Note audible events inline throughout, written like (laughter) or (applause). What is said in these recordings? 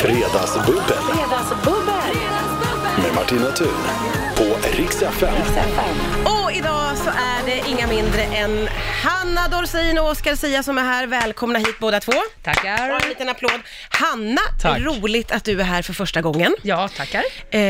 Fredagsbubbel Fredagsbubbel! med Martina Thun på Rix FM. Och idag så är det inga mindre än Hanna Dorsin och Oscar Sia som är här. Välkomna hit båda två. Tackar. Och en liten applåd. Hanna, Tack. roligt att du är här för första gången. Ja, tackar. Eh,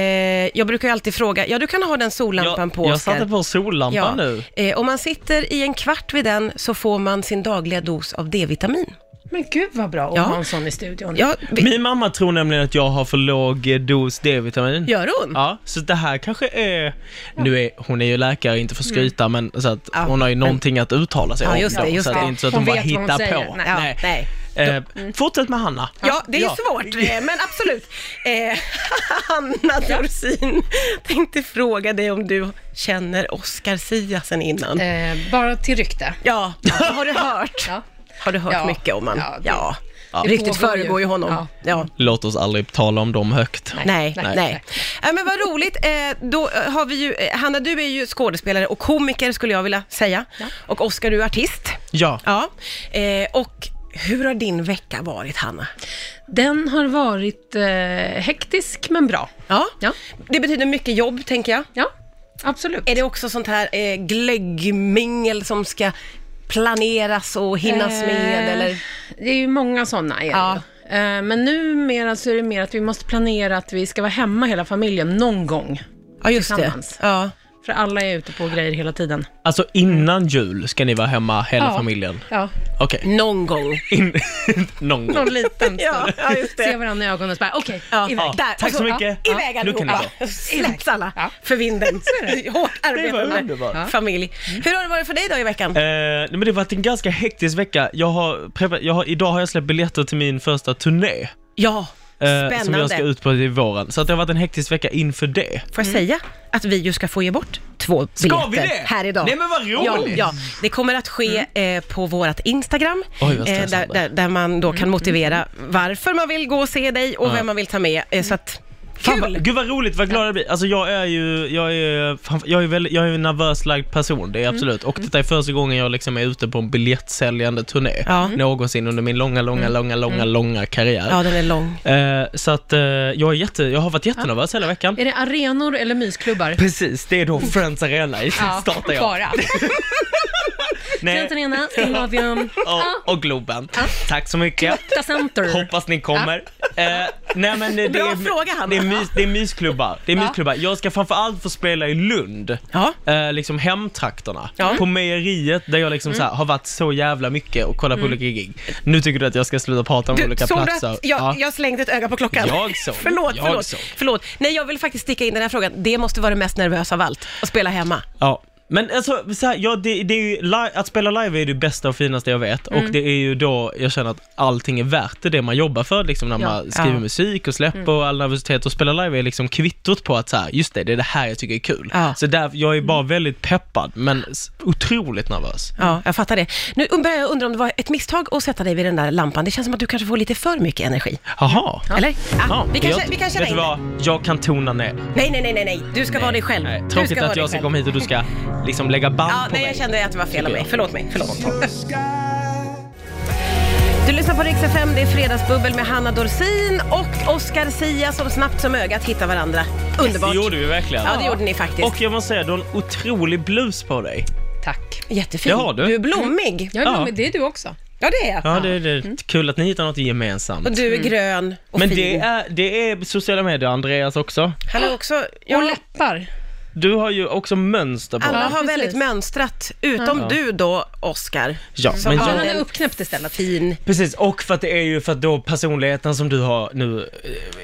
jag brukar ju alltid fråga, ja du kan ha den sollampan jag, på Oscar. jag satte på sollampan ja. nu. Eh, om man sitter i en kvart vid den så får man sin dagliga dos av D-vitamin. Men gud vad bra att Ja. ha en sån i studion. Ja, vi, Min mamma tror nämligen att jag har för låg eh, dos D-vitamin. Gör hon? Ja, så det här kanske är... Nu är hon är ju läkare, inte för att skryta, men så att Mm. Ja, hon har ju men- någonting att uttala sig Ja, om. just det, då, just så att det det. är inte så att Hon hon, bara vet vad hon hittar säger. på. Nej, ja, Nej. nej. Eh, fortsätt med Hanna. Ja, det är svårt, eh, men absolut. Eh, (laughs) Hanna Dorsin, tänkte fråga dig om du känner Oscar Sia sen innan. Eh, bara till rykte. Ja, alltså, har du hört? Ja. Har du hört Ja. mycket om han? Ja, Ja, det- det Riktigt pågår ju. föregår ju honom. Ja. Ja. Låt oss aldrig tala om dem högt. Nej, nej. nej, nej. Äh, men vad roligt. Eh, då eh, har vi ju, eh, Hanna, du är ju skådespelare och komiker skulle jag vilja säga. Och Oscar, du är artist. Ja. Ja. Eh, och hur har din vecka varit, Hanna? Den har varit eh, hektisk men bra. Ja. Ja. Det betyder mycket jobb, tänker jag. Ja, absolut. Är det också sånt här eh, glöggmingel som ska planeras och hinnas med? Eh, Eller? Det är ju många sådana. Ja. Ja. Eh, men numera så är det mer att vi måste planera att vi ska vara hemma hela familjen någon gång. Ja, just det. tillsammans. Ja. För alla är ute på grejer hela tiden. Alltså innan jul ska ni vara hemma hela Ja. familjen. Ja, Okej. (laughs) Någon gång. In... Någon gång. någon (laughs) liten (laughs) Ja, stund. ja, just det. Se varandra i ögonen och så bara, okej, Ja. iväg. Ja. Tack så mycket. Alltså, Ja, Ja, iväg nu kan allihopa. ni Släpps alla Ja. för vinden. (laughs) Hårt arbetande underbart. Ja. familj. Hur har det varit för dig då i veckan? Eh, nej, men det har varit en ganska hektisk vecka. Jag har, prepar- jag har, idag har jag släppt biljetter till min första turné. Ja, Eh, som jag ska spännande. ut på i våren. Så att det har varit en hektisk vecka inför det. Får jag säga att vi ju ska få ge bort två Ska biljetter vi det? här idag. Nej men vad Ja, roligt! ja, det kommer att ske eh, på vårt Instagram, Mm. Oj, vad eh, där, stressande. Mm. där, där man då kan motivera varför man vill gå och se dig och vem man vill ta med. Eh, så att, Fan, kul! vad, gud vad roligt, vad glad jag blir. Alltså jag är ju, jag är, fan, jag är, väldigt, jag är ju en nervös lagd person, Mm. det är jag absolut. Och detta är första gången jag liksom är ute på en biljettsäljande turné. Ja. Mm. Någonsin under min långa, långa, långa, långa, långa karriär. Ja, den är lång. Eh, så att eh, jag, är jätte, jag har varit jättenervös hela veckan. Är det arenor eller mysklubbar? Precis, det är då Friends Arena i- (laughs) startar jag. Bara. Nej, Arena, Skandinavium, och, och Globen. Tack så mycket. Akta Center. Hoppas ni kommer. Eh, nej men det, Bra är, fråga, Hanna. det, är mys, det är mysklubbar. Det är mysklubbar. Jag ska framförallt få spela i Lund. Ja. Eh, liksom hemtrakterna. Ja. Mm. På mejeriet där jag liksom så här, har varit så jävla mycket och kollat på olika gig. Nu tycker du att jag ska sluta prata om Du, olika såg platser. Du att jag, Ja. jag slängde ett öga på klockan. Jag (laughs) såg. förlåt, Jag förlåt, såg. förlåt. Nej, jag vill faktiskt sticka in den här frågan. Det måste vara det mest nervösa av allt, att spela hemma. Ja. Men alltså, så här, ja, det, det är ju, li- att spela live är det bästa och finaste jag vet Mm. och det är ju då jag känner att allting är värt det, det man jobbar för liksom när Ja. man skriver Ja. Mm. musik och släpper och all nervositet och spela live är liksom kvittot på att så här, just det, det är det här jag tycker är kul. Ja. Så där, jag är bara väldigt peppad men s- otroligt nervös. Ja, jag fattar det. Nu börjar jag undra om det var ett misstag att sätta dig vid den där lampan. Det känns som att du kanske får lite för mycket energi. Jaha. Eller? Ja, vi kan, jag, vi kan köra vet in du vad? Jag kan tona ner. Nej, nej, nej, nej, nej. Du ska vara dig själv. Nej, Du tråkigt vara att dig jag ska själv. komma hit och du ska liksom lägga band Ja, på nej, mig. jag kände att det var fel av mig. jag. Förlåt mig. Förlåt. (laughs) Du lyssnar på Rix FM, det är Fredagsbubbel med Hanna Dorsin och Oscar Sia som snabbt som ögat hittar varandra. Underbart. Det gjorde vi verkligen. Ja, det gjorde ni faktiskt. Och jag måste säga, du har en otrolig blus på dig. Tack. Jättefin. Det har du. du är blommig. Ja, Ja. Men det är du också. Ja, det är jag. Ja, det, det är kul att ni hittar något gemensamt. Och du är grön och Men fin. det är, det är sociala medier, Andreas också. Han är också... Och Ja, läppar. Du har ju också mönster på alla dig. Ja, har precis. väldigt mönstrat, utom du då, Oscar. Ja, Som men har Men han jag, är uppknäppt istället. Fin. precis. Och för att det är ju för att då personligheten som du har nu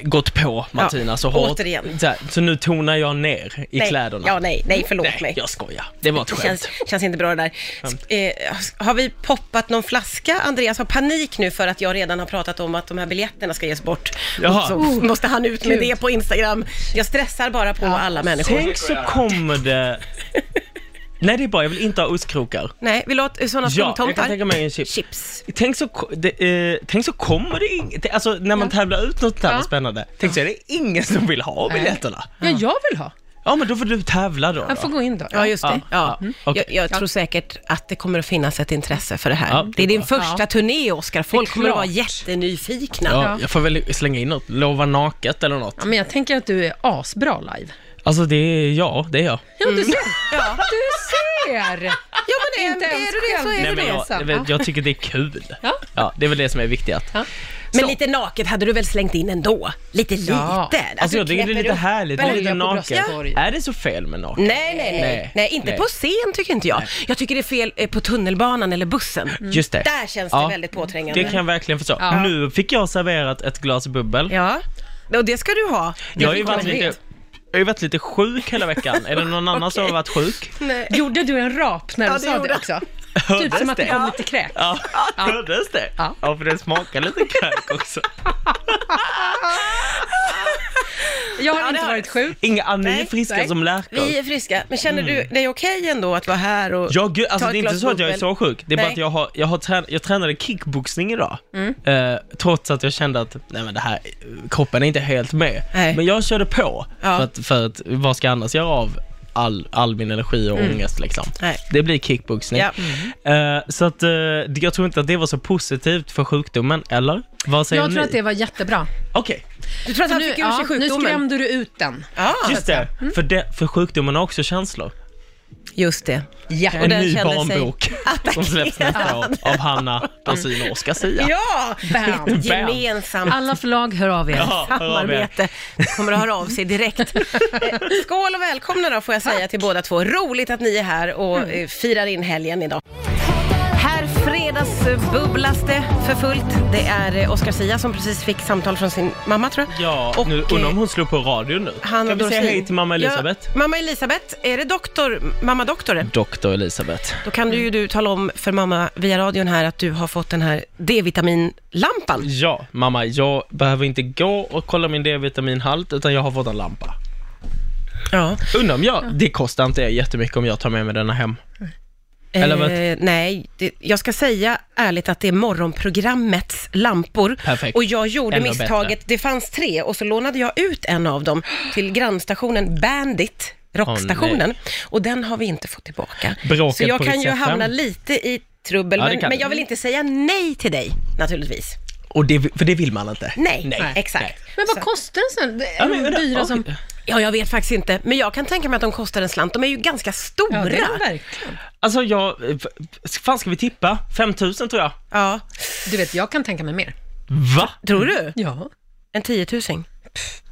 eh, gått på Martina Ja, så hårt. återigen. Så, här, så nu tonar jag ner i Nej. kläderna. Ja, nej, nej, förlåt nej, mig. jag skojar. Det var ett Det skämt. känns, känns inte bra det där. Sk- Eh, har vi poppat någon flaska? Andreas har panik nu för att jag redan har pratat om att de här biljetterna ska ges bort. Jaha. Oh. Och Så måste han ut med det på Instagram. Jag stressar bara på alla människor. Tänk så (laughs) kommer det... Nej, det är bra. Jag vill inte ha ostkrokar. Nej, vill du ha ett- sådana Ja, jag kan skumtomtar? tänka mig en chip. Chips. Tänk så, ko- det, eh, tänk så kommer det inget, alltså när man tävlar ut något där Ja. spännande, tänk så är det ingen som vill ha biljetterna. Ja, jag vill ha. Ja, men då får du tävla då. Jag får då. gå in då. Ja, just det. Ja, Ja. ja, okej. Jag, jag tror säkert att det kommer att finnas ett intresse för det här. Ja, det är det, är din bra. första turné, Oscar. Folk kommer att vara klart. jättenyfikna. Ja, jag får väl slänga in något. Lova naket eller något. Ja, men jag tänker att du är asbra live. Alltså, det är ja, det är jag. Ja, du ser! (laughs) Du ser! Mm. Ja, men är, Inte ens är du det så själv. är du men det. jag, jag, vet, jag tycker det är kul. Ja. det är väl det som är viktigast. Ja. Men lite naket hade du väl slängt in ändå? Lite lite? Ja. Alltså, jag tycker det är knäpper lite upp härligt. eller- Det är lite Böja på naket. bröstkorgen. Är det så fel med naket? Nej, nej, nej. Nej. nej inte Nej. på scen tycker inte jag. Jag tycker det är fel eh, på tunnelbanan eller bussen. Just det. Där känns det väldigt påträngande. Det kan jag verkligen förstå. Ja. Nu fick jag serverat ett glas bubbel. Ja, och det ska du ha. jag, har ju fick man varit lite, jag vet. har ju varit lite sjuk hela veckan. är det någon annan som har varit sjuk? Nej. Gjorde du en rap när du Eh. Ja, det sa gjorde det jag. (laughs) också? Typ Hördes som att det kom lite kräk. Ja, hördes det? Ja. Ja. för det smakar lite kräk också. Jag har Ja, det inte har varit det. sjuk. Inga, ah, ni är Nej, friska nej. som lärkor. Vi är friska, men känner du dig okej ändå att vara här och Ja, gud, alltså ta ett det är inte glas så att jag är bubbel? så sjuk. Det är bara Nej. Mm. att jag, har, jag, har trän, jag tränade kickboxning idag. Eh, trots att jag kände att nej, men det här, kroppen är inte helt med. Nej. Men jag körde på. Ja. För, att, för att vad ska jag annars göra av all, all min energi och ångest liksom? Mm. Nej. Det blir kickboxning. Ja. Eh, så att, eh, det- jag tror inte att det var så positivt för sjukdomen, eller? Vad säger Jag ni? tror att det var jättebra. Okej, Du tror att han Nu, fick ur ja, sig nu sjukdomen? skrämde du ut den. Ja, just det. För, det. för sjukdomen har också känslor. just det. Ja. Och En den ny kände sig barnbok (laughs) som släpps nästa år av Hanna Dorsin och Oscar Sia. Mm. Ja! Bam. Gemensamt Alla förlag hör av er. Ja, hör av er. samarbete. Kommer att höra av sig direkt. Eh, (laughs) Skål och välkomna då får jag säga till båda två. Roligt att ni är här och eh, firar in helgen idag. Här fredagsbubblas det för fullt. Det är eh, Oscar Sia som precis fick samtal från sin mamma tror jag. Ja, Och, nu undrar om eh, hon slår på radion nu. han kan vi och säga Dorsin. hej till mamma Elisabeth? Ja, mamma Elisabeth, är det doktor, mamma doktor? Doktor Elisabeth. Då kan du ju du tala om för mamma via radion här att du har fått den här D-vitaminlampan. Ja, mamma, jag behöver inte gå och kolla min D-vitaminhalt, utan jag har fått en lampa. Ja. Undrar om jag, det kostar inte jättemycket om jag tar med mig denna hem. Eller vad- eh, nej, det, jag ska säga ärligt att det är morgonprogrammets lampor. Perfekt. Och jag gjorde Ännu misstaget, bättre. det fanns tre och så lånade jag ut en av dem till grannstationen Bandit, Åh, rockstationen. och den har vi inte fått tillbaka. Bråket så jag på kan ju Rix FM. hamna lite i trubbel, Ja, det men, kan men du. jag vill inte säga nej till dig naturligtvis. Och det, för det vill man inte. Nej, exakt. Men vad kostar den sen? Det Ja, är men, de dyra oj. som... Ja, jag vet faktiskt inte, men jag kan tänka mig att de kostar en slant. De är ju ganska stora. Ja, det är de verkligen. Alltså jag, eh, fan ska vi tippa? 5000 tror jag. Ja. Du vet, jag kan tänka mig mer. Va? Tror du? Ja. En tiotusing?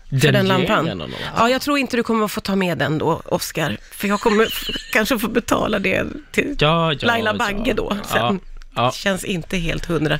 Den, för den lampan. ger någon. Ja, jag tror inte du kommer att få ta med den då, Oscar. För jag kommer f- (laughs) kanske få betala det till Ja, ja, Laila ja. Bagge då. Ja, Sen. ja. Känns inte helt hundra.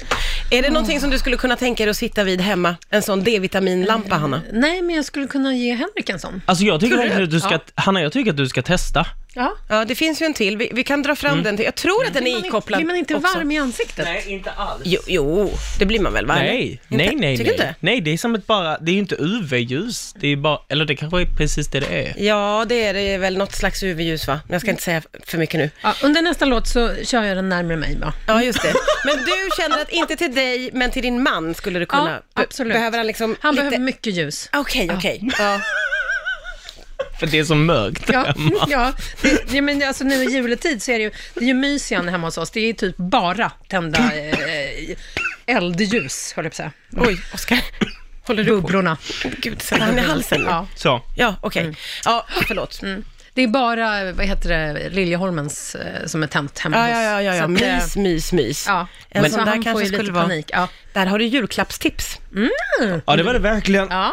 Är det någonting som du skulle kunna tänka dig att sitta vid hemma? En sån D-vitaminlampa, Hanna? Nej, men jag skulle kunna ge Henrik en sån. Alltså jag tycker verkligen att du ska, Ja. Hanna jag tycker att du ska testa. Ja. Ja, det finns ju en till. Vi, vi kan dra fram den till. Jag tror att den Blir är man- ikopplad Blir man inte också. varm i ansiktet? Nej. inte alls. Jo, jo, det blir man väl? Va? Nej, Inte? nej, nej. Tycker Nej. du inte? nej, det är som ett bara, det är ju inte UV-ljus. Det är bara, eller det kanske är precis det det är. Ja, det är det väl något slags UV-ljus va? Men jag ska inte säga för mycket nu. Ja, under nästa låt så kör jag den närmare mig. Va? Ja, just det. Men du känner att inte till dig, men till din man skulle du kunna... Ja, Be- absolut. Behöver han liksom Han lite... behöver mycket ljus. Okej, okej. Ja. För det är så mörkt. Ja, (laughs) ja. Det, ja, men alltså nu i juletid så är det ju, det är ju mys igen hemma hos oss. Det är typ bara tända eh, eldljus, höll jag på att säga. (laughs) Oj, Oskar. Håller du på? Bubblorna. Gud, sätter han i halsen? Ja, Ja. (laughs) Mm. Så. ja okej. Ja, förlåt. Det är bara, eh, vad heter det, Liljeholmens eh, som är tänt hemma Ja, hos ja, ja, ja, Så ja. att, eh, Mys, mys, mys. Ja, En men sån så där han får kanske ju lite skulle vara... panik. Ja. Där har du julklappstips. Ja, det var det verkligen. Ja.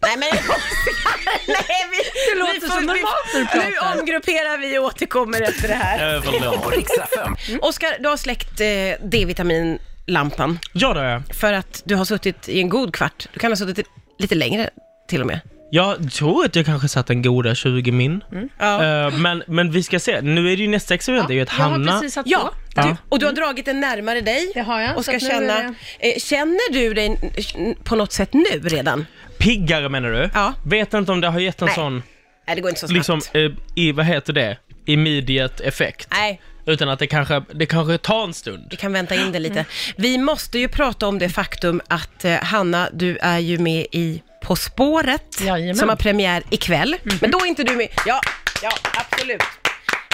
Nej, men (laughs) Nej, vi... Det låter Alltså, som normalt när du pratar. Nu omgrupperar vi och återkommer efter det här. Eh, förlåt. Oskar, du har släckt eh, D-vitaminlampan Ja, det har jag. för att du har suttit i en god kvart. Du kan ha suttit lite längre till och med. Jag tror att jag kanske satt en goda 20 min. Mm. Ja. Eh, men, men vi ska se. Nu är det ju nästa experiment. det är ju att jag har Hanna... precis satt Ja, på. Ja. du, och du har dragit den närmare dig Det har jag, och så ska att nu är känna. eh, Känner du dig n- på något sätt nu redan? Piggare menar du? Ja. Vet inte om det har gett en Nej. sån, Nej, det går inte så snabbt. liksom, eh, i, vad heter det? Immediate effekt. Nej, Utan att det kanske, det kanske tar en stund. vi kan vänta in det lite. Vi måste ju prata om det faktum att eh, Hanna, du är ju med i På spåret, Jajamän. Mhm. som har premiär ikväll. Men då är inte du med. Ja, ja, absolut.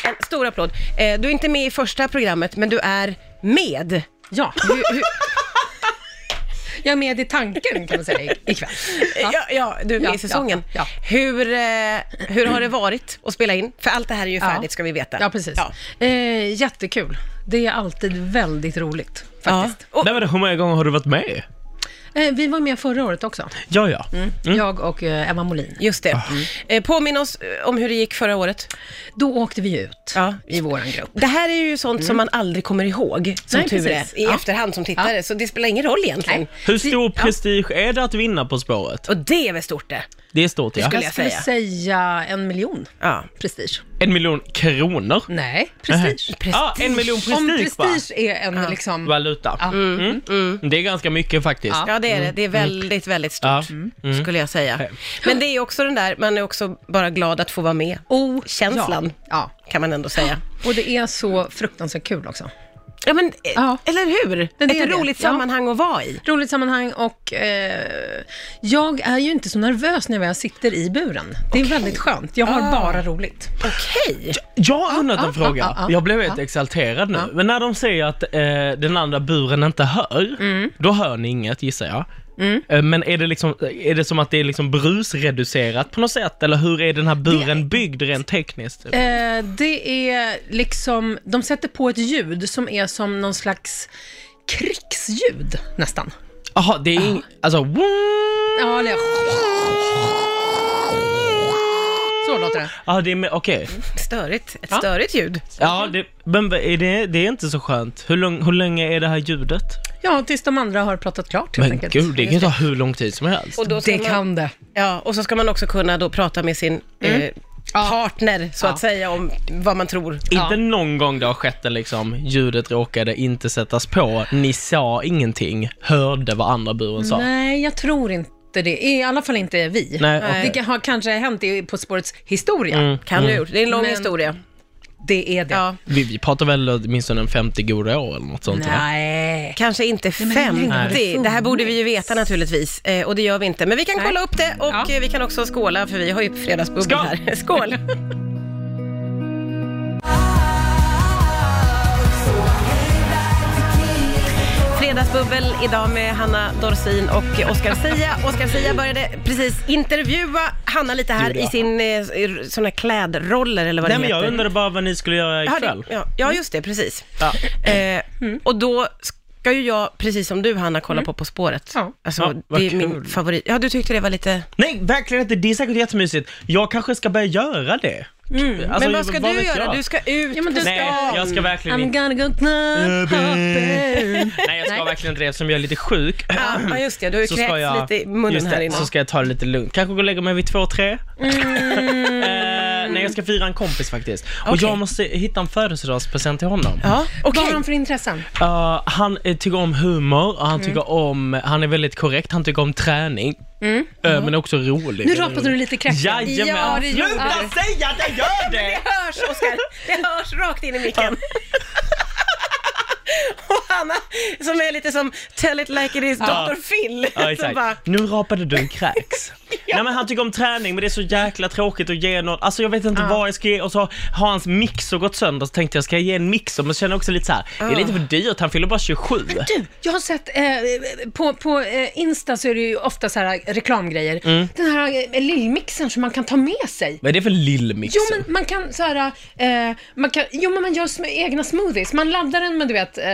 En stor applåd. Eh, du är inte med i första programmet, men du är med. Ja, Du, hur, (laughs) jag är med i tanken kan man säga i- ikväll. ja. Eh, Ja, du är med Ja, i säsongen. ja, Hur, eh, hur har det varit att spela in? För allt det här är ju Ja. färdigt, ska vi veta. Ja, precis. Ja. Eh, jättekul. Det är alltid väldigt roligt faktiskt. Ja. Och, Nej, men hur många gånger har du varit med? Eh, vi var med förra året också, Ja, ja. jag och eh, Emma Molin. just det. Eh, påminn oss eh, om hur det gick förra året. Då åkte vi ut Ja. i våran grupp. Det här är ju sånt som man aldrig kommer ihåg, som Mm. Nej, tur precis. är, i Ja. efterhand som tittare, så det spelar ingen roll egentligen. Nej. Hur stor Ja. prestige är det att vinna På spåret? Och det är väl stort det? Det är stort, ja. skulle Jag skulle säga. säga. en miljon Ja. prestige. En miljon kronor. Nej, prestige. Ja, en miljon Om prestige, va? prestige är en liksom... Valuta. Mm. Det är ganska mycket faktiskt. Ja, det är Mm. det. Det är väldigt, väldigt Ja. stort, Mm. skulle jag säga. Men det är också den där, man är också bara glad att få vara med. Oh, Känslan. Ja. Kan man ändå säga. ja, och det är så fruktansvärt kul också. Ja, men eh, Ja. eller hur? Men det Ett är det. roligt Ja. sammanhang att vara i. Roligt sammanhang och eh, jag är ju inte så nervös när jag väl sitter i buren. Det är väldigt skönt. Jag har Ah. Ah. bara roligt. Okej. Jag har undrat en ah, fråga. ah, ah, jag blev helt exalterad nu. Men när de säger att eh, den andra buren inte hör, då hör ni inget gissar jag. Eh, Men är det, liksom, är det som att det är liksom brusreducerat på något sätt? Eller hur är den här buren byggd rent tekniskt? Eh, det är liksom, de sätter på ett ljud som är som någon slags krigsljud nästan. Jaha, det är ing- Alltså... woom! Ja, eller... Så låter det. Ja, Ah, det är med- okej. Störigt. Ett störigt ljud. Ja, det, men vad är det, det är inte så skönt. Hur, lång, hur länge är det här ljudet? Ja, tills de andra har pratat klart helt Men enkelt. gud, det kan ju ta hur lång tid som helst. Och då ska Det man- kan det. Ja, och så ska man också kunna då prata med sin eh, partner, så Ja. att säga, om vad man tror. Inte någon gång det har skett det liksom, ljudet råkade inte sättas på, ni sa ingenting, hörde vad andra buren sa. Nej, jag tror inte det. I alla fall inte vi. Nej, Det okej. kan- har kanske hänt i På spårets historia. Kan du ha gjort. Det är en lång Men- historia. Det är det. Ja. Vi, vi pratar väl åtminstone en 50 goda år eller något sånt va? Nej. Kanske inte men hur länge har det 50. Det här borde vi ju funnits? veta naturligtvis. Eh, och det gör vi inte. Men vi kan Nej. kolla upp det och Ja. eh, vi kan också skåla för vi har ju fredagsbubbel Skål! här. (laughs) Skål! Fredagsbubbel idag med Hanna Dorsin och Oscar Sia. Oscar Sia började precis intervjua Hanna lite här Gjorde i jag. sin eh, sån här klädroller eller vad Nej det men heter. jag undrade bara vad ni skulle göra Ja, det- ikväll. Ja, ja, just det, precis. Ja. Eh, Och då ska ju jag, precis som du Hanna, kolla på På spåret. Ja. Alltså, Mm. Ja, vad det är min kul. favorit. Ja, du tyckte det var lite... Nej, verkligen inte, det är säkert jättemysigt. Jag kanske ska börja göra det. Alltså, Mm. men vad ska vad du vet göra? jag? Du ska ut Ja, men du på ska- Nej, stan. jag ska verkligen I'm inte. gonna go club hopping. Nej, jag ska Nej. verkligen inte det eftersom jag är lite sjuk. (clears throat) Ja, ja, just det. Du har ju så ska kräkts jag, lite i munnen just det, här Mm. innan. Så ska jag ta det lite lugnt. Kanske gå och lägga mig vid två, tre. (laughs) eh, nej, jag ska fira en kompis faktiskt. Och Okej. jag måste hitta en födelsedagspresent till honom. Ja, Vad okej. har de för intressen? Eh, han eh, tycker om humor, och han Mm. tycker om, han är väldigt korrekt, han tycker om träning. Mm. Eh, men också rolig. Nu rapade du lite kräftor. Jajamän! Ja, det gjorde Sluta du. säga att jag gör det! Det hörs, Oskar. Det hörs rakt in i micken. Och Hanna, som är lite som Tell it like it is Dr. Phil. Ja, som exakt. bara, Nu rapade du en kräks. Nej men han tycker om träning men det är så jäkla tråkigt att ge något, alltså jag vet inte vad jag ska ge och så har hans mixer gått sönder så tänkte jag ska jag ge en mixer men så känner jag också lite så här. det är lite för dyrt, han fyller bara 27. Du, jag har sett eh, på, på eh, Insta så är det ju ofta så här reklamgrejer. Den här eh, lillmixen som man kan ta med sig. Vad är det för lillmixer? Jo men man kan så här, eh, man kan, jo men man gör sm- egna smoothies. Man laddar den med du vet, eh,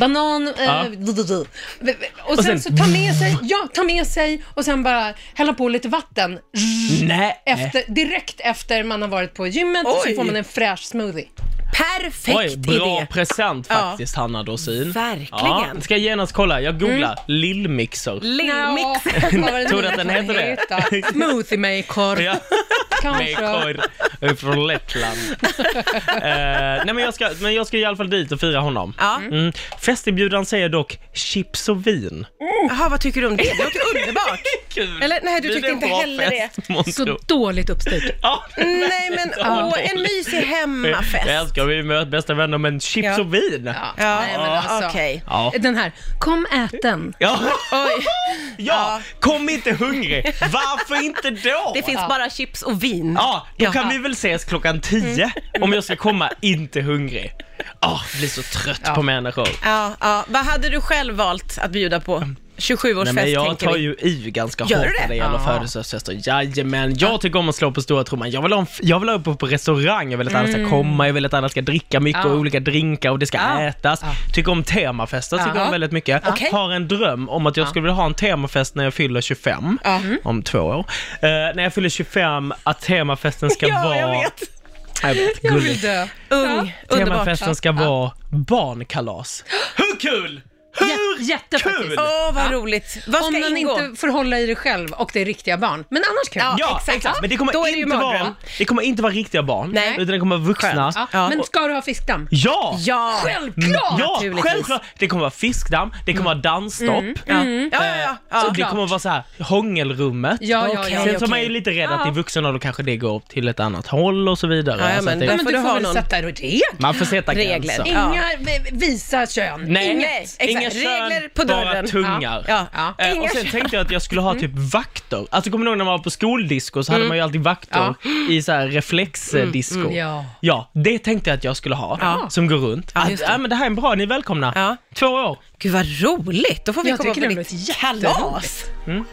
banan, eh, Ja. du, du, du. och Och sen, sen- så ta med (laughs) sig, ja ta med sig och sen bara hälla på lite vatten. Nej! Efter, direkt efter man har varit på gymmet Oj. så får man en fräsch smoothie. perfekt Oj, bra idé. present Ja. faktiskt Hanna Dorsin. Verkligen. Ja, ska jag genast kolla, jag googlar lillmixer. Lillmix. Nå, vad var det (laughs) Tror nu du att den kan (laughs) heter det? heta? Smoothie maker. Ja. (laughs) kanske. Mekoir är från (laughs) Lettland. Eh, nej men jag, ska, men jag ska i alla fall dit och fira honom. Ja. Mm. Festinbjudan säger dock chips och vin. Jaha, vad tycker du om det? Det låter underbart. Kul. Eller, nej, du Blir tyckte det en inte bra heller Mm, fest, månntro? Så dåligt uppstyrt. Ja. Nej, men åh, en mysig hemmafest. Jag älskar vi möter bästa vänner, men chips Ja. och vin. Ja. Ja, Nej, men alltså. okej. Ja. Den här, kom ät den. Ja. Oj, kom inte hungrig. Varför inte då? det finns bara chips och vin. Ja, då Ja. kan vi väl ses klockan 10 Mm. om jag ska komma inte hungrig. Ah, blir så trött på människor. Ja, ja. Vad hade du själv valt att bjuda på? 27-årsfest Mm. Nej, men jag tänker tar vi. ju i ganska Gör du hårt det? när det gäller Ja. födelsedagsfester. Jajamän, jag tycker om att slå på stora trumman. Jag vill, ha en, f- jag vill ha uppe på restaurang, jag vill att alla Mm. ska komma, jag vill att alla ska dricka mycket Ja. och olika drinkar och det ska Ja. ätas. Tycker om temafester, tycker Ja. om väldigt mycket. Okej. Har en dröm om att jag skulle vilja ha en temafest när jag fyller 25, Ja. om två år. Eh, när jag fyller 25, att temafesten (laughs) ska Ja, vara... jag vet. Jag vet, Jag gulligt. vill dö. Ung, underbart. Temafesten ska vara barnkalas. Hur kul? Jä- jätte Kul! faktiskt. Åh, vad roligt. Vad Om ska man ingå? inte får hålla i det själv och det är riktiga barn. Men annars kul. Ja. Ja, exakt. exakt. Men det Då är kommer, det ju inte mardröm. vara, det kommer inte vara riktiga barn, Nej. utan det kommer vara vuxna. Ja. Ja. Men ska du ha fiskdamm? Ja! Ja. Självklart! Ja, naturligtvis. självklart! Det kommer vara fiskdamm, det kommer vara dansstopp, Ja, Mm. ja, ja. ja. ja. det kommer vara så här hångelrummet. Ja, ja, Okej. ja. Sen så man okej. är ju lite rädd att Ja. i vuxen ålder kanske det går till ett annat håll och så vidare. Ja, ja, Alltså men att där det, Men får du du ha får väl någon- sätta regler? man får sätta Regler. gränser. Ja. Inga v- visa kön. Nej, Nej, exakt. inga Regler kön, på bara dörren. tungar. Ja, Ja. ja. Eh, Ah, Inga Mm. och sen tänkte jag att jag skulle ha typ vakter. Alltså kommer du ihåg när man var på skoldisco så hade man ju alltid vakter i så här reflexdisco. mm. Ja. ja, det tänkte jag att jag skulle ha, Ja. som går runt. Ja, att, just ja, men det här är en bra, ni är välkomna. Ja. Två år. Gud vad roligt! Då får vi Jag komma på tycker det ditt låter jätteroligt. kalas. Mm.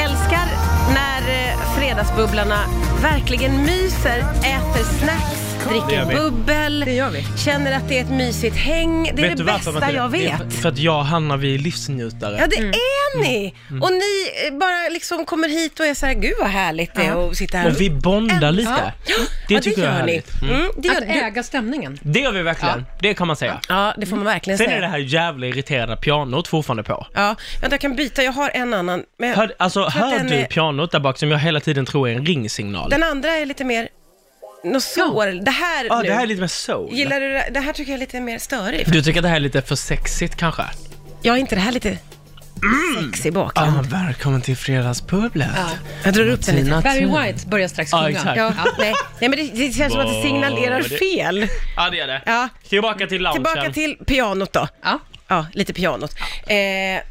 Älskar när eh, fredagsbubblarna verkligen myser, äter snacks, gör dricker vi. bubbel, Det gör vi. känner att det är ett mysigt häng. Det är det du varför man bästa inte- jag det är vet. För att jag och Hanna, vi är livsnjutare. Ja, det Mm. är Mm. ni! Och ni eh, bara liksom kommer hit och är så här, gud vad härligt det är att sitta här. Och vi bondar lite. Det ja, tycker jag är gör ni. härligt. Mm, det gör Att du. äga stämningen. Det gör vi verkligen. Det kan man säga. Ja, det får man verkligen Sen är det säga. här jävla irriterande pianot fortfarande på. Ja, vänta jag kan byta, jag har en annan. Men jag, Hör, alltså, tror att hör den du är- pianot där bak som jag hela tiden tror är en ringsignal? Den andra är lite mer, något sår. Det här Ja, nu. det här är lite mer soul. Gillar du det? Det här tycker jag är lite mer störigt. Du tycker att det här är lite för sexigt kanske? Jag är inte det här lite sexig Ja, bakgrund? välkommen till Fredagsbubblet. Jag drar upp den lite. Tina Barry Thun. White börjar strax Ja, sjunga. exakt. Mm. Ja, nej. nej, men det, det känns som att det signalerar Var det- fel. Ja, det är det. Ja. Tillbaka till loungen. Tillbaka till pianot då. Ja. Ja, lite pianot. Eh,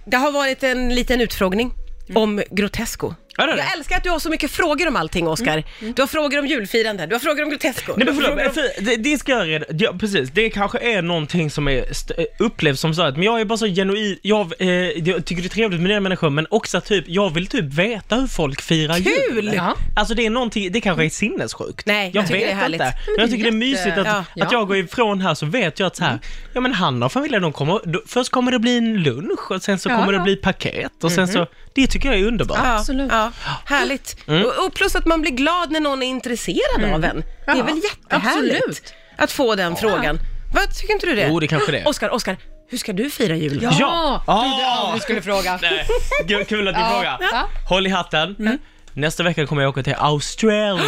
det har varit en liten utfrågning Mm. om Grotesco. Ja, det är det. Jag älskar att du har så mycket frågor om allting, Mm. Oskar. Du har frågor om julfirande, du har frågor om Grotesco. du Nej men har förlåt, frågor men om... för, det, det ska jag reda ja, precis, det kanske är någonting som är st- upplevs som så att, men jag är bara så genuin, jag, eh, jag tycker det är trevligt med nya människor men också typ, jag vill typ veta hur folk firar Kul! jul. Ja. Alltså det är någonting, det kanske är sinnessjukt. Nej, jag jag tycker vet det är härligt. inte. Men jag tycker det är mysigt att, Ja. Mm. att jag går ifrån här så vet jag att så här, ja men Hanna och familjen de kommer, då, först kommer det bli en lunch och sen så Ja, kommer det ja. bli paket och sen så, det tycker jag är underbart. Mhm. Ja, Absolut. Ja, härligt. Mm. Och, och plus att man blir glad när någon är intresserad av en. Det är Ja, väl jättehärligt absolut. att få den frågan. Vad Tycker inte du det? Jo, det kanske det är. Oskar, Oskar, hur ska du fira jul? Ja, Ja. det är det Ah. jag skulle fråga. Nej, kul- kul att du frågar. Ja. Mm. Håll i hatten. Nästa vecka kommer jag åka till Australien.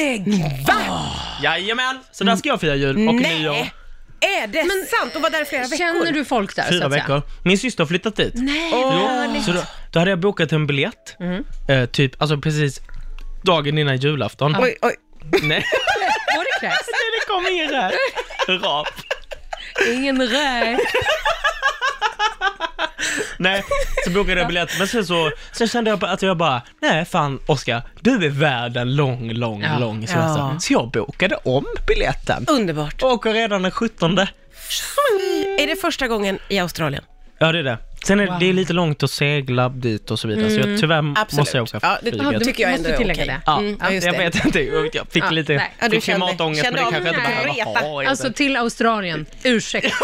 Lägg! Jajamän! Så där ska jag fira jul och nyår. Nej, är det sant? Och var där i flera veckor? Känner du folk där? så Fyra att säga? veckor. Min syster har flyttat dit. Nej, Jo, vad härligt. Mm. så då, då hade jag bokat en biljett, eh, typ, alltså precis dagen innan julafton. Oj, oj. (laughs) Nej, Var det kräks? det kom ingen räk. Rap. Ingen räk. Nej, så bokade jag biljett, men sen så sen kände jag bara att jag bara, nej fan Oskar, du är värd en lång, lång, Ja. lång semester. Ja. Så jag bokade om biljetten. Underbart. Åker redan den 17. Är det första gången i Australien? Ja, det är det. Sen är det- det är lite långt att segla dit och så vidare, så jag, tyvärr Mm. Absolut. måste jag åka Ja, det- flyget. Mm, Du Tycker jag ändå måste är tillägga okej. det. Ja, Mm, ja, just jag det. vet inte, jag fick Ja, lite nej. Ja, du fick kände- klimatångest kände men av det kanske jag inte den här behöver retan. ha. Alltså till Australien. Ursäkt.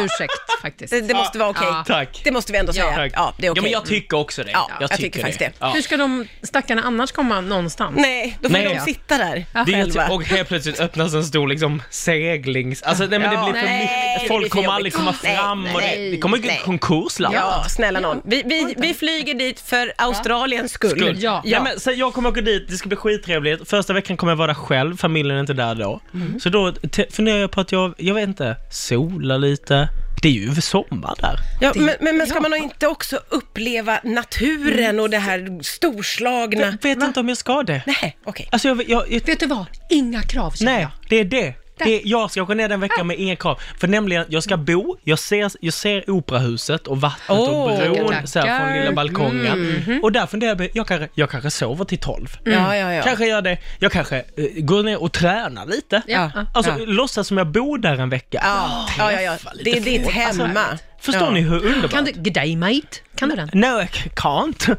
Ursäkt faktiskt. Det, det måste vara okej. Ja. Tack. Det måste vi ändå säga. Ja, Tack. det är okej. ja men jag tycker också det. Ja, jag tycker faktiskt det. Ja. Hur ska de stackarna annars komma någonstans? Mm. Nej, då får Nej. de sitta där Det är själva. ju, typ- och helt plötsligt öppnas en stor liksom, seglings... Alltså, nej, men det Ja. blir för Nej, det mycket. blir Folk för kommer jobbigt. aldrig komma Nej, fram. och det, nej, det kommer ju nej. konkursland. Ja, snälla nån. Vi, vi, vi flyger dit för Australiens skull. Skull. Ja. Ja. men, så jag kommer åka dit, det ska bli skittrevligt. Första veckan kommer jag vara där själv, familjen är inte där då. Så då te- funderar jag på att jag, jag vet inte, sola lite. Det är ju sommar där. Ja, men, men, men ska man då inte också uppleva naturen och det här storslagna? Jag vet inte om jag ska det. Nej, okej. Alltså jag, jag, jag Vet du vad? Inga krav känner Nej, jag. det är det. det är, jag ska åka ner den Ah. veckan med inga krav. För nämligen, jag ska bo, jag ser, jag ser operahuset och vattnet och Åh, Mm. bron tackar, så här, från tackar. lilla balkongen. Och där funderar jag, på, jag kanske, jag kanske sover till tolv. Ja, ja, ja. Kanske gör det, jag kanske eh, går ner och tränar lite. Ja. Alltså ja. låtsas som jag bor där en vecka. Ja, ja, ja, ja. Träffa lite Det är ditt folk. Alltså, hemma. förstår Ja. ni hur underbart? Kan du, g'day mate, kan du den? No, I c- can't.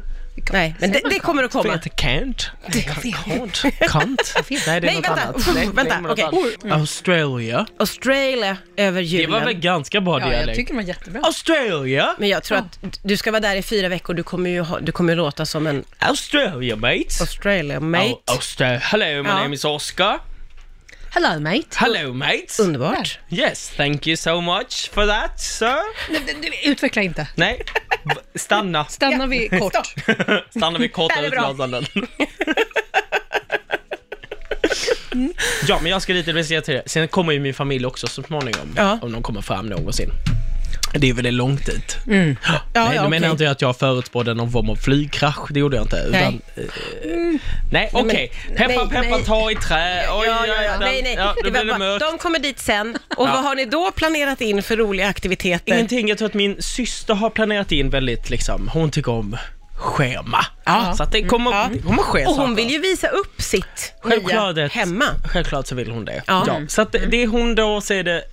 Nej, men det, det kommer att För jag komma. heter can't. Can't. Can't. Nej, det är Nej, något vänta. annat. Oh, Nej, det är vänta, något okej. annat. Australia. Australia över Det var väl julen. ganska bra Ja, jag dialekt? tycker den var jättebra. Australia! Men jag tror att du ska vara där i fyra veckor, du kommer ju ha, du kommer ju låta som en Australia mate! Australia mate. Au- Austra- Hello, my Ja. name is Oscar. Hello mate. Hello mate! Mm. Underbart. Yes, thank you so much for that sir. Nej, nej, nej, Utveckla inte. Nej, v- stanna. Stannar vi kort. Stanna vid korta Det här är bra. utlåtanden. (laughs) Ja, men jag ska dit, det vill säga till det. Sen kommer ju min familj också så småningom. Ja. Om de kommer fram någonsin. Det är väl det långt dit. Mm. Ja, (gasps) nej, ja, nu menar okej. jag inte att jag förutspådde någon form av flygkrasch. Det gjorde jag inte. Utan, Nej. Mm. eh, nej, okej. Peppa, nej, peppa, nej. ta i trä. Oj, Ja, oj, ja, oj, ja. den- Nej, nej. Ja, det då blir det var bara, mörkt. de kommer dit sen. Och vad har ni då planerat in för roliga aktiviteter? Ingenting. Jag tror att min syster har planerat in väldigt, liksom, hon tycker om schema. Ja. Mm. Så att det kommer, Ja. det kommer ske Och hon saker. vill ju visa upp sitt nya Självklart. hemma. Självklart så vill hon det. Ja. Mm. Ja. Så att det- det är hon då, så är det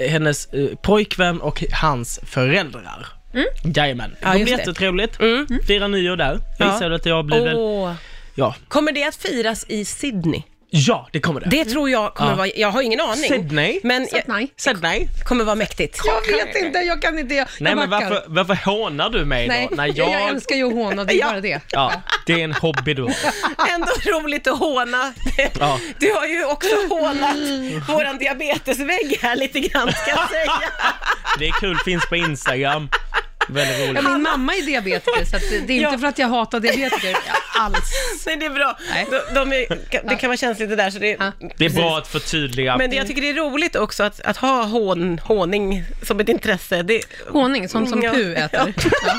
eh, hennes eh, pojkvän och hans föräldrar. Mm. Jajamän. Ja, det just blir det. Mm. jättetrevligt. Fira nyår där. Jag Ja. gissar att jag blir väl... Åh. Ja. Kommer det att firas i Sydney? ja, det kommer det. Det tror jag kommer Ja. vara, jag har ingen aning. Sydney? Men jag, Nej. Sydney? kommer vara mäktigt. Jag vet inte, jag kan inte. Jag, Nej jag men backar. varför, varför hånar du mig Nej, (laughs) då? När jag... älskar ju att håna, det är bara det. Ja, det är en hobby du har. Ändå (laughs) roligt att håna. Ja. Du har ju också hånat våran diabetesvägg här lite grann ska jag (laughs) säga. Det är kul, finns på Instagram. Väldigt roligt. Ja, min mamma är diabetiker, så att det det är inte för att jag hatar diabetiker alls. Nej det är bra. De, de är, det kan vara känsligt det där så det, Det är bra att förtydliga. Men det, jag tycker det är roligt också att, att ha hån, håning som ett intresse. Det, Honung, som, som Ja. Pu äter. Ja.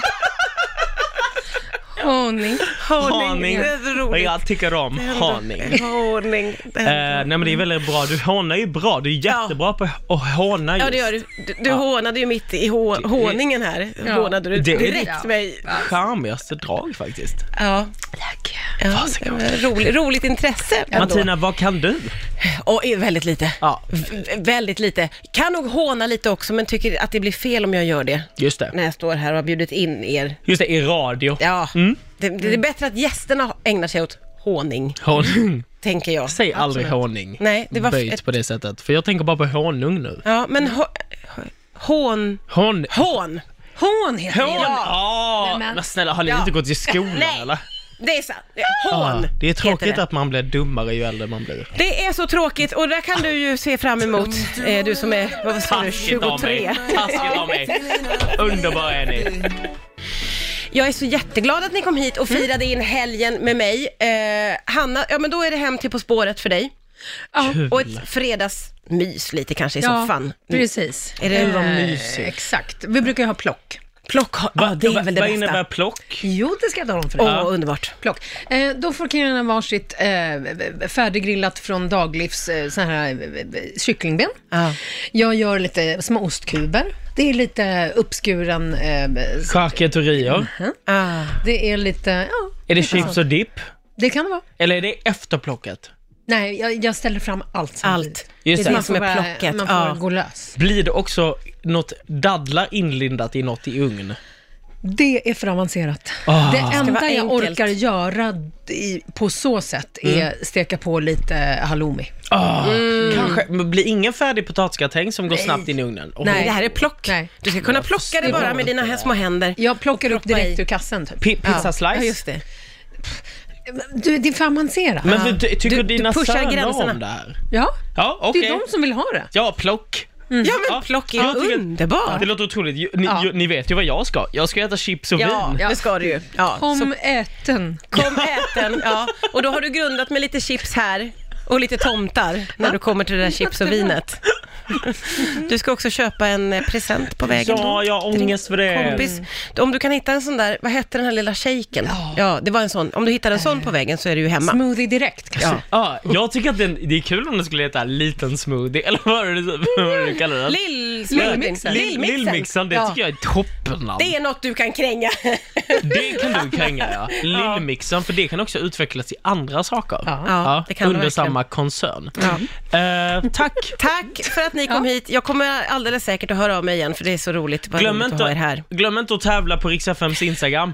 Honung. Haning. Det är så Och roligt. jag tycker om haning. Håning. Det Eh, är- nej men det är väldigt bra, du hånar ju bra, du är jättebra på att håna just. Ja det gör du. Du, du hånade ju mitt i hå, håningen här. Hånade du Det är- direkt Ja. mig. Charmigaste drag faktiskt. Ja. Tack. Ja, Varsågod. det var rolig, roligt intresse ändå. Martina, vad kan du? Och eh, väldigt lite. Ja. V- väldigt lite. Kan nog håna lite också, men tycker att det blir fel om jag gör det. Just det, När jag står här och har bjudit in er. just det, i radio. Ja, Mm. det, det är bättre att gästerna ägnar sig åt håning, Håning. tänker jag. (laughs) Säg aldrig håning. Nej, det var Böjt ett- på det sättet. För jag tänker bara på honung nu. Ja, men hå, hån... Hon... Hån! Hon heter Hån! det. Ja. Nej, men- men. snälla, har ni Ja. inte gått i skolan Nej. eller? Det är sant. Hån Ja, det är tråkigt heter det. att man blir dummare ju äldre man blir. Det är så tråkigt och där kan du ju se fram emot, eh, du som är, vad sa du, Taskigt av mig. 23. Taskigt (laughs) av mig. Underbara är ni. Jag är så jätteglad att ni kom hit och firade in helgen med mig. Eh, Hanna, ja men då är det hem till På spåret för dig. Ja. Och ett fredagsmys lite kanske i Ja, soffan. precis. Eh, Är det- Vad mysigt. Exakt. Vi brukar ju ha plock. Plock, ja det är väl det vad bästa. innebär plock? Jo, det ska jag tala om för dig. Åh, underbart. Plock. Eh, då får kungarna varsitt eh, färdiggrillat från Daglivs eh, sån här eh, kycklingben. Ja. Jag gör lite små ostkuber. Det är lite uppskuren... Eh, s- Charkuterier? Ah. det är lite... Ja, Är det chips och dipp? det kan det vara. Eller är det efter plocket? Nej, jag, jag ställer fram allt samtidigt. Allt. Just det är det. det som är Bara- plocket. Man får Ja. gå lös. Blir det också något dadlar inlindat i något i ugn? Det är för avancerat. Ah. Det Ska enda vara jag enkelt. Mm. orkar göra i, på så sätt är steka på lite halloumi. Ah, Kanske, men blir ingen färdig potatisgratäng som går snabbt in i ugnen? Oh. Nej. Det här är plock. Nej. Du ska kunna plocka det bara med dina här små händer. Jag plockar upp Ploppa direkt i. ur kassen. Typ. Pi- pizza slice? Ja, just det. Du, det är för avancerat. Men du, ty- tycker Du- du dina pushar söner gränserna. om det här? Ja, Ja, okej. det är de som vill ha det. Ja, plock. Mm. Ja, men Ja. plock är Ja, jag tycker- underbart. Det låter otroligt. Ju- Ni, Ja. ju, ni vet ju vad jag ska. Jag ska äta chips och Ja, vin. det ska du ju. Ja, Kom så äten. kom ät den. Ja. Och då har du grundat med lite chips här och lite tomtar när du kommer till det där chips och vinet. Du ska också köpa en eh, present på vägen. Ja, jag har ångest för det. Kompis, om du kan hitta en sån där, vad hette den här lilla shaken? Ja, Eh. det var en sån. Om du hittar en sån på vägen så är du ju hemma. Smoothie direkt kanske. Ja. Ja, jag tycker att den, det är kul om det skulle heta liten smoothie, eller vad är det- vad är det du kallar den? Lill- Lillmixen. Lillmixen. Lillmixen, det tycker jag är toppennamn. Det är något du kan kränga. (laughs) Det kan du kränga ja. Lillmixen, för det kan också utvecklas i andra saker. Ja. Ja, det kan det under verkligen. samma koncern. Eh, tack! Tack för att ni kom hit. Jag kommer alldeles säkert att höra av mig igen för det är så roligt. (laughs) Vad Glöm roligt att ha er inte, här. glöm inte att tävla på Rix FMs Instagram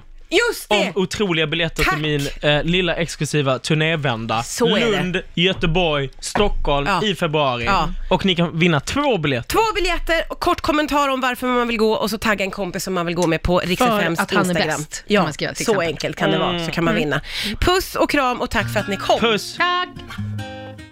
Just om det! otroliga biljetter Tack. till min eh, lilla exklusiva turnévända. Så är det. Lund, Göteborg, Stockholm Ja. i februari. Ja. Och ni kan vinna två biljetter. Två biljetter och kort kommentar om varför man vill gå och så tagga en kompis som man vill gå med på Rix För FMs att han är Instagram. bäst, Mm. kan Ja, man skriva till så exempel. enkelt kan det vara, så kan man vinna. Puss och kram och tack för att ni kom. Puss! Tack!